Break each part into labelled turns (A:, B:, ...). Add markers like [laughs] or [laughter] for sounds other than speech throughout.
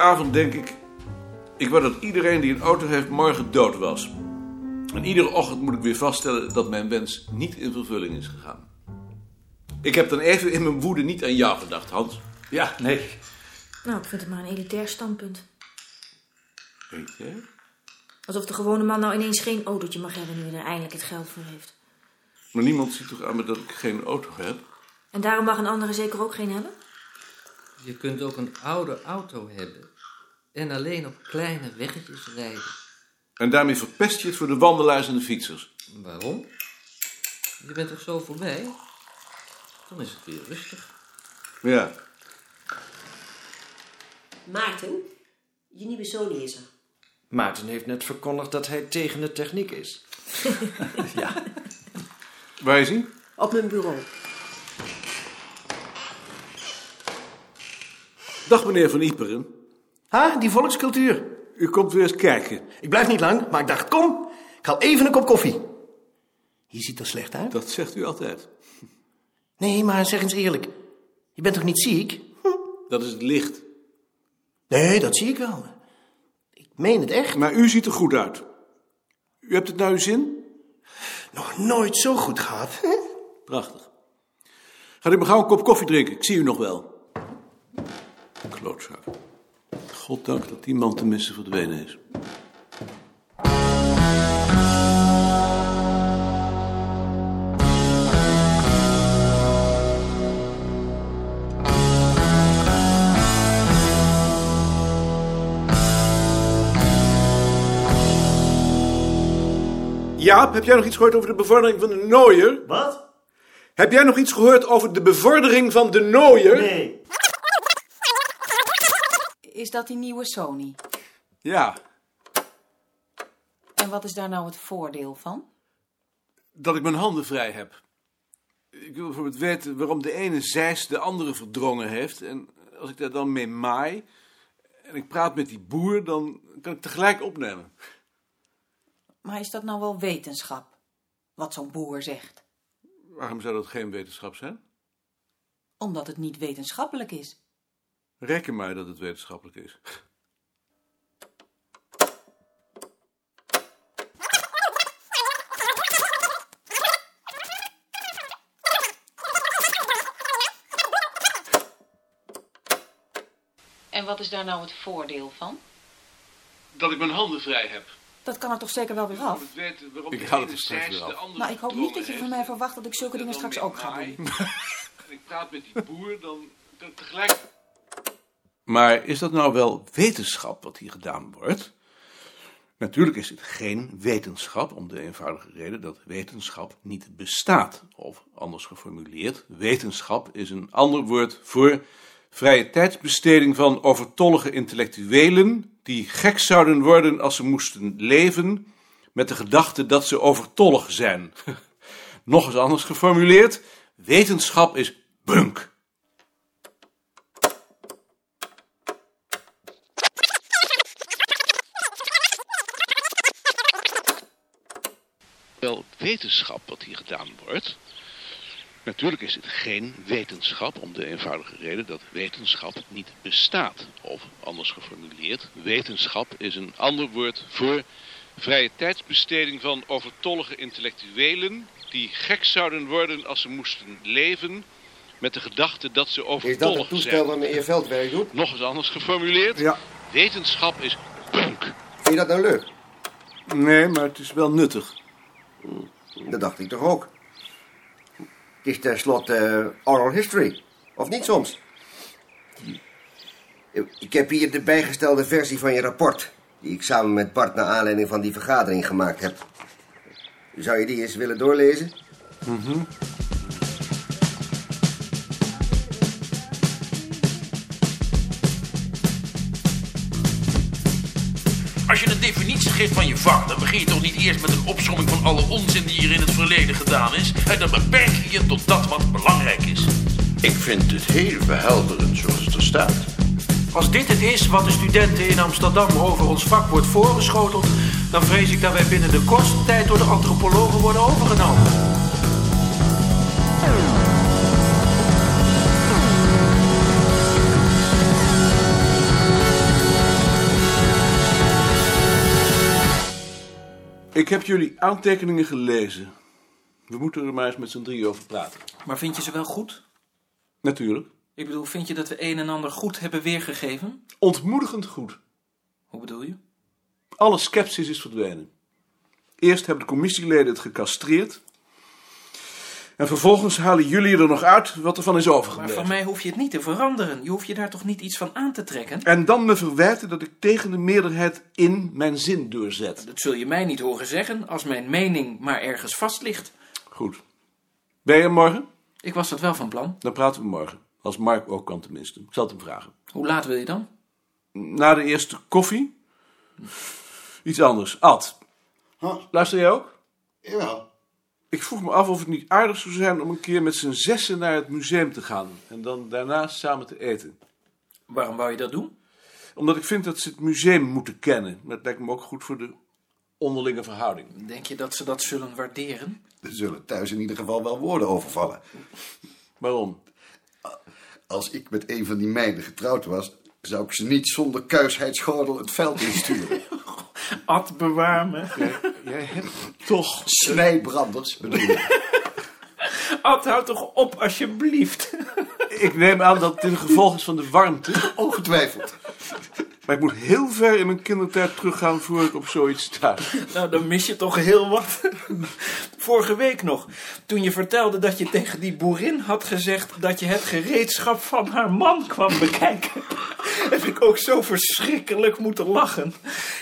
A: avond denk ik... Ik wou dat iedereen die een auto heeft morgen dood was. En iedere ochtend moet ik weer vaststellen dat mijn wens niet in vervulling is gegaan. Ik heb dan even in mijn woede niet aan jou gedacht, Hans.
B: Ja, nee.
C: Nou, ik vind het maar een elitair standpunt.
A: Weet je?
C: Alsof de gewone man nou ineens geen autootje mag hebben nu hij er eindelijk het geld voor heeft.
A: Maar niemand ziet toch aan me dat ik geen auto heb?
C: En daarom mag een andere zeker ook geen hebben?
D: Je kunt ook een oude auto hebben en alleen op kleine weggetjes rijden.
A: En daarmee verpest je het voor de wandelaars en de fietsers.
D: Waarom? Je bent toch zo voorbij? Dan is het weer rustig.
A: Ja,
E: Maarten, je nieuwe zoon is er.
F: Maarten heeft net verkondigd dat hij tegen de techniek is.
A: waar is hij?
E: Op mijn bureau.
A: Dag meneer Van Ieperen.
F: Ha, die volkscultuur.
A: U komt weer eens kijken.
F: Ik blijf niet lang, maar ik dacht, kom, ik haal even een kop koffie. Je ziet er slecht uit.
A: Dat zegt u altijd.
F: Nee, maar zeg eens eerlijk. Je bent toch niet ziek?
A: Dat is het licht.
F: Nee, dat zie ik wel. Ik meen het echt.
A: Maar u ziet er goed uit. U hebt het naar uw zin?
F: Nog nooit zo goed gehad.
A: Prachtig. Gaat u maar gauw een kop koffie drinken. Ik zie u nog wel. Klootzak. Goddank dat die man tenminste verdwenen is. Jaap, heb jij nog iets gehoord over de bevordering van de Nooier?
G: Wat?
A: Heb jij nog iets gehoord over de bevordering van de Nooier?
G: Nee.
H: Is dat die nieuwe Sony?
A: Ja,
H: En wat is daar nou het voordeel van?
A: dat ik mijn handen vrij heb. Ik wil bijvoorbeeld weten waarom de ene zeis de andere verdrongen heeft. En als ik daar dan mee maai en ik praat met die boer, dan kan ik tegelijk opnemen.
H: Maar is dat nou wel wetenschap? Wat zo'n boer zegt.
A: Waarom zou dat geen wetenschap zijn?
H: Omdat het niet wetenschappelijk is.
A: Reken mij dat het wetenschappelijk is.
H: En wat is daar nou het voordeel van?
A: Dat ik mijn handen vrij heb.
H: Dat kan er toch zeker wel weer af?
A: Weten waarom ik haal het er straks weer af.
H: Nou, ik hoop niet dat je van mij verwacht dat ik zulke dingen straks ook ga doen.
A: En ik praat met die boer, dan kan ik tegelijk... Maar is dat nou wel wetenschap wat hier gedaan wordt? Natuurlijk is het geen wetenschap, om de eenvoudige reden dat wetenschap niet bestaat. Of anders geformuleerd, wetenschap is een ander woord voor vrije tijdsbesteding van overtollige intellectuelen die gek zouden worden als ze moesten leven met de gedachte dat ze overtollig zijn. [laughs] Nog eens anders geformuleerd, wetenschap is bunk. Wel wetenschap wat hier gedaan wordt. Natuurlijk is het geen wetenschap, om de eenvoudige reden dat wetenschap niet bestaat. Of anders geformuleerd, wetenschap is een ander woord voor vrije tijdsbesteding van overtollige intellectuelen die gek zouden worden als ze moesten leven met de gedachte dat ze
I: Is dat
A: overtollig
I: het toestel
A: zijn.
I: waarmee je veldwerk doet?
A: Nog eens anders geformuleerd,
I: Ja.
A: wetenschap is bunk.
I: Vind je dat nou leuk?
A: Nee, maar het is wel nuttig.
I: Dat dacht ik toch ook. Het is tenslotte eh, oral history. Of niet soms? Ik heb hier de bijgestelde versie van je rapport. Die ik samen met Bart naar aanleiding van die vergadering gemaakt heb. Zou je die eens willen doorlezen?
J: Als je een definitie geeft van je vak, dan begin je toch niet eerst met een opsomming van alle onzin die hier in het verleden gedaan is. En dan beperk je je tot dat wat belangrijk is.
K: Ik vind het heel behelderend zoals het er staat.
B: Als dit het is wat de studenten in Amsterdam over ons vak wordt voorgeschoteld, dan vrees ik dat wij binnen de kortste tijd door de antropologen worden overgenomen.
A: Ik heb jullie aantekeningen gelezen. We moeten er maar eens met z'n drieën over praten.
D: Maar vind je ze wel goed?
A: Natuurlijk.
D: Ik bedoel, vind je dat we een en ander goed hebben weergegeven?
A: Ontmoedigend goed.
D: Hoe bedoel je?
A: Alle sceptisch is verdwenen. Eerst hebben de commissieleden het gecastreerd. En vervolgens halen jullie er nog uit wat er van is
D: Maar
A: overgebleven.
D: van mij hoef je het niet te veranderen. Je hoeft je daar toch niet iets van aan te trekken?
A: En dan me verwijten dat ik tegen de meerderheid in mijn zin doorzet.
D: Dat zul je mij niet horen zeggen als mijn mening maar ergens vast ligt.
A: Goed. Ben je er morgen?
D: Ik was dat wel van plan.
A: Dan praten we morgen. Als Mark ook kan tenminste. Ik zal het hem vragen.
D: Hoe laat wil je dan?
A: Na de eerste koffie. Iets anders. Ad. Luister jij ook?
I: Jawel.
A: Ik vroeg me af of het niet aardig zou zijn om een keer met z'n zessen naar het museum te gaan. En dan daarna samen te eten.
D: Waarom wou je dat doen?
A: Omdat ik vind dat ze het museum moeten kennen. Dat lijkt me ook goed voor de onderlinge verhouding.
D: Denk je dat ze dat zullen waarderen?
I: Er zullen thuis in ieder geval wel woorden overvallen.
A: Waarom?
I: Als ik met een van die meiden getrouwd was, zou ik ze niet zonder kuisheidsgordel het veld [laughs] insturen.
D: Ad bewarmen.
A: Jij hebt toch...
I: Snijbranders bedoel ik.
D: Ad, houd toch op alsjeblieft.
A: Ik neem aan dat het een gevolg is van de warmte.
I: Ongetwijfeld.
A: Maar ik moet heel ver in mijn kindertijd teruggaan voor ik op zoiets sta.
D: [laughs] Nou, dan mis je toch heel wat. [laughs] Vorige week nog, toen je vertelde dat je tegen die boerin had gezegd dat je het gereedschap van haar man kwam bekijken. [laughs] Heb ik ook zo verschrikkelijk moeten lachen.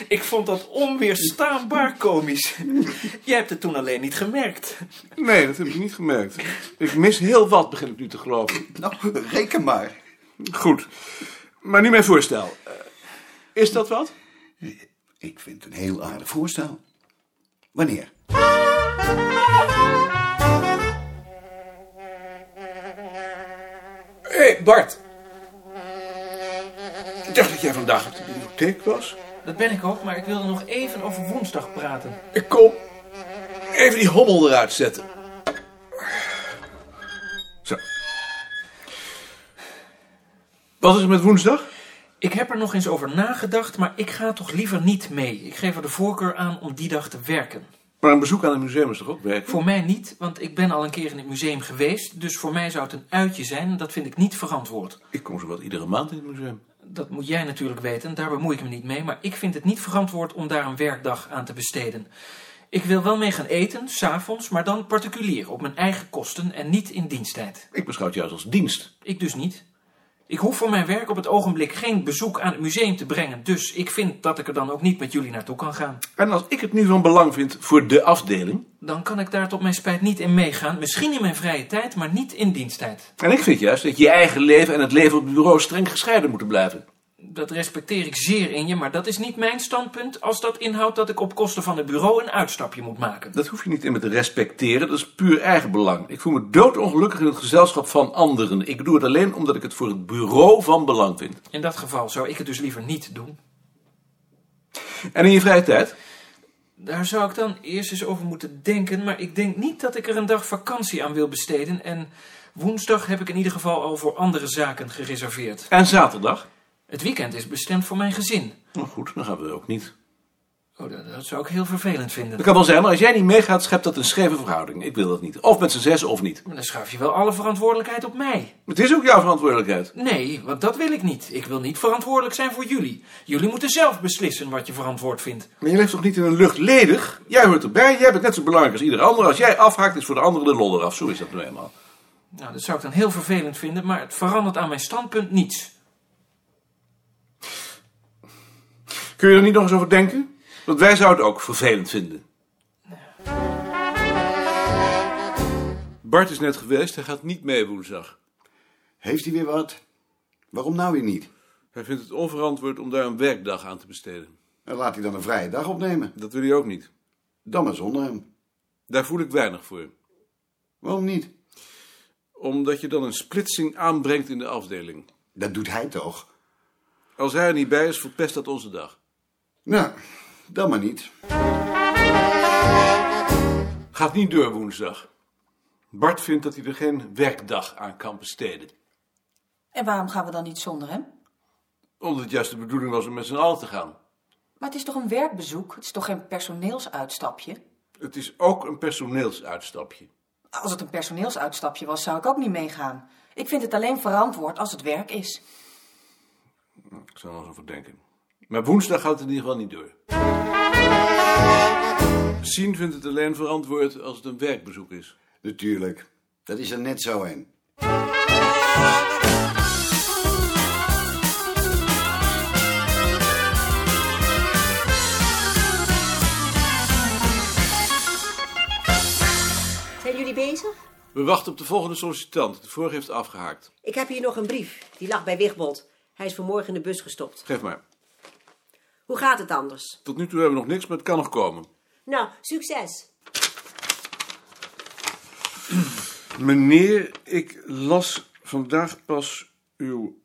D: Ik vond dat onweerstaanbaar komisch. Jij hebt het toen alleen niet gemerkt.
A: Nee, dat heb ik niet gemerkt. Ik mis heel wat, begin ik nu te geloven.
I: Nou, reken maar.
A: Goed. Maar nu mijn voorstel. Eh, is dat wat?
I: Ik vind het een heel aardig voorstel. Wanneer?
L: Hé, Bart.
A: Ik dacht dat jij vandaag op de bibliotheek was.
D: Dat ben ik ook, maar ik wilde nog even over woensdag praten.
A: Ik kom. Even die hommel eruit zetten. Zo. Wat is er met woensdag?
D: Ik heb er nog eens over nagedacht, maar ik ga toch liever niet mee. Ik geef er de voorkeur aan om die dag te werken.
A: Maar een bezoek aan het museum is toch ook werk?
D: Voor mij niet, want ik ben al een keer in het museum geweest. Dus voor mij zou het een uitje zijn en dat vind ik niet verantwoord.
A: Ik kom zowat iedere maand in het museum.
D: Dat moet jij natuurlijk weten, daar bemoei ik me niet mee. Maar ik vind het niet verantwoord om daar een werkdag aan te besteden. Ik wil wel mee gaan eten, s'avonds, maar dan particulier, op mijn eigen kosten en niet in diensttijd.
A: Ik beschouw het juist als dienst.
D: Ik dus niet. Ik hoef voor mijn werk op het ogenblik geen bezoek aan het museum te brengen. Dus ik vind dat ik er dan ook niet met jullie naartoe kan gaan.
A: En als ik het nu van belang vind voor de afdeling...
D: Dan kan ik daar tot mijn spijt niet in meegaan. Misschien in mijn vrije tijd, maar niet in diensttijd.
A: En ik vind juist dat je eigen leven en het leven op het bureau streng gescheiden moeten blijven.
D: Dat respecteer ik zeer in je, maar dat is niet mijn standpunt als dat inhoudt dat ik op kosten van het bureau een uitstapje moet maken.
A: Dat hoef je niet in me te respecteren, dat is puur eigenbelang. Ik voel me doodongelukkig in het gezelschap van anderen. Ik doe het alleen omdat ik het voor het bureau van belang vind.
D: In dat geval zou ik het dus liever niet doen.
A: En in je vrije tijd?
D: Daar zou ik dan eerst eens over moeten denken, maar ik denk niet dat ik er een dag vakantie aan wil besteden. En woensdag heb ik in ieder geval al voor andere zaken gereserveerd.
A: En zaterdag?
D: Het weekend is bestemd voor mijn gezin.
A: Nou goed, dan gaan we ook niet.
D: Oh, dat, dat zou ik heel vervelend vinden.
A: Dat kan wel zijn, maar als jij niet meegaat, schept dat een scheve verhouding. Ik wil dat niet. Of met z'n zes of niet.
D: Maar dan schuif je wel alle verantwoordelijkheid op mij.
A: Het is ook jouw verantwoordelijkheid.
D: Nee, want dat wil ik niet. Ik wil niet verantwoordelijk zijn voor jullie. Jullie moeten zelf beslissen wat je verantwoord vindt.
A: Maar je leeft toch niet in een luchtledig? Jij hoort erbij, jij bent net zo belangrijk als ieder ander. Als jij afhaakt, is voor de anderen de lol eraf. Zo is dat nu eenmaal.
D: Nou, dat zou ik dan heel vervelend vinden, maar het verandert aan mijn standpunt niets.
A: Kun je er niet nog eens over denken? Want wij zouden het ook vervelend vinden. Bart is net geweest, hij gaat niet mee woensdag.
I: Heeft hij weer wat? Waarom nou weer niet?
A: Hij vindt het onverantwoord om daar een werkdag aan te besteden.
I: En laat hij dan een vrije dag opnemen.
A: Dat wil hij ook niet.
I: Dan maar zonder hem.
A: Daar voel ik weinig voor.
I: Waarom niet?
A: Omdat je dan een splitsing aanbrengt in de afdeling.
I: Dat doet hij toch?
A: Als hij er niet bij is, verpest dat onze dag.
I: Nou, dan maar niet.
A: Gaat niet door woensdag. Bart vindt dat hij er geen werkdag aan kan besteden.
H: En waarom gaan we dan niet zonder hem?
A: Omdat het juist de bedoeling was om met z'n allen te gaan.
H: Maar het is toch een werkbezoek? Het is toch geen personeelsuitstapje?
A: Het is ook een personeelsuitstapje.
H: Als het een personeelsuitstapje was, zou ik ook niet meegaan. Ik vind het alleen verantwoord als het werk is.
A: Ik zal er nog over denken. Maar woensdag gaat het in ieder geval niet door. Sien vindt het alleen verantwoord als het een werkbezoek is.
I: Natuurlijk. Dat is er net zo een.
C: Zijn jullie bezig?
A: We wachten op de volgende sollicitant. De vorige heeft afgehaakt.
C: Ik heb hier nog een brief. Die lag bij Wigbold. Hij is vanmorgen in de bus gestopt.
A: Geef maar.
C: Hoe gaat het anders?
A: Tot nu toe hebben we nog niks, maar het kan nog komen.
C: Nou, succes.
A: Meneer, ik las vandaag pas uw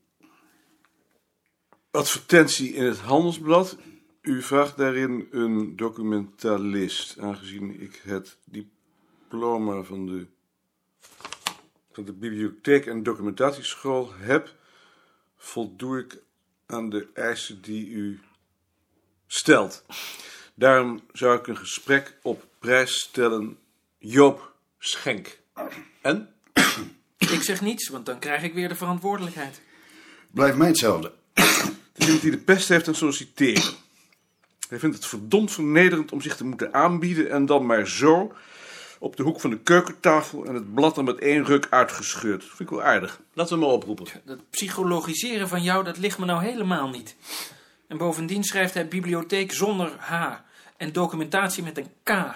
A: advertentie in het Handelsblad. U vraagt daarin een documentalist, aangezien ik het diploma van de, van de Bibliotheek en Documentatieschool heb, voldoe ik aan de eisen die u stelt. Daarom zou ik een gesprek op prijs stellen, Joop Schenk. En?
D: Ik zeg niets, want dan krijg ik weer de verantwoordelijkheid.
I: Blijft mij hetzelfde.
A: Het is iemand die de pest heeft aan solliciteren. Hij vindt het verdomd vernederend om zich te moeten aanbieden en dan maar zo op de hoek van de keukentafel en het blad er met één ruk uitgescheurd. Vind ik wel aardig. Laten we hem maar oproepen.
D: Dat psychologiseren van jou, dat ligt me nou helemaal niet. En bovendien schrijft hij bibliotheek zonder H. En documentatie met een K.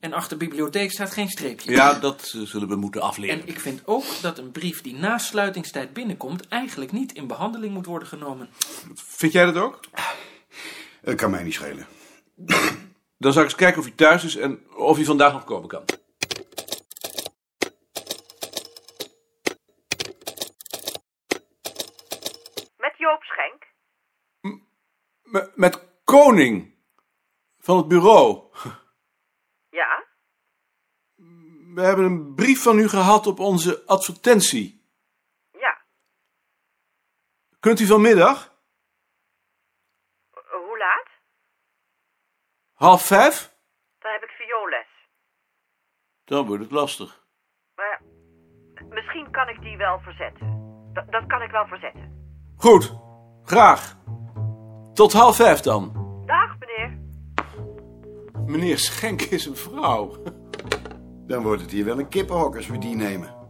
D: en achter bibliotheek staat geen streepje.
A: Ja, dat eh, zullen we moeten afleren.
D: En ik vind ook dat een brief die na sluitingstijd binnenkomt... eigenlijk niet in behandeling moet worden genomen.
A: Vind jij dat ook?
I: Het kan mij niet schelen.
A: Dan zou ik eens kijken of hij thuis is en of hij vandaag nog komen kan.
M: Met Joop Schenk?
A: M- met Koning van het bureau. [laughs]
M: Ja?
A: We hebben een brief van u gehad op onze advertentie.
M: Ja.
A: Kunt u vanmiddag?
M: Eh, hoe laat?
A: Half vijf?
M: Dan heb ik vioolles.
A: Dan wordt het lastig.
M: Maar misschien kan ik die wel verzetten. Dat, dat kan ik wel verzetten.
A: Goed, graag. Tot half vijf dan.
M: Dag, meneer.
A: Meneer Schenk is een vrouw.
I: Dan wordt het hier wel een kippenhok als we die nemen.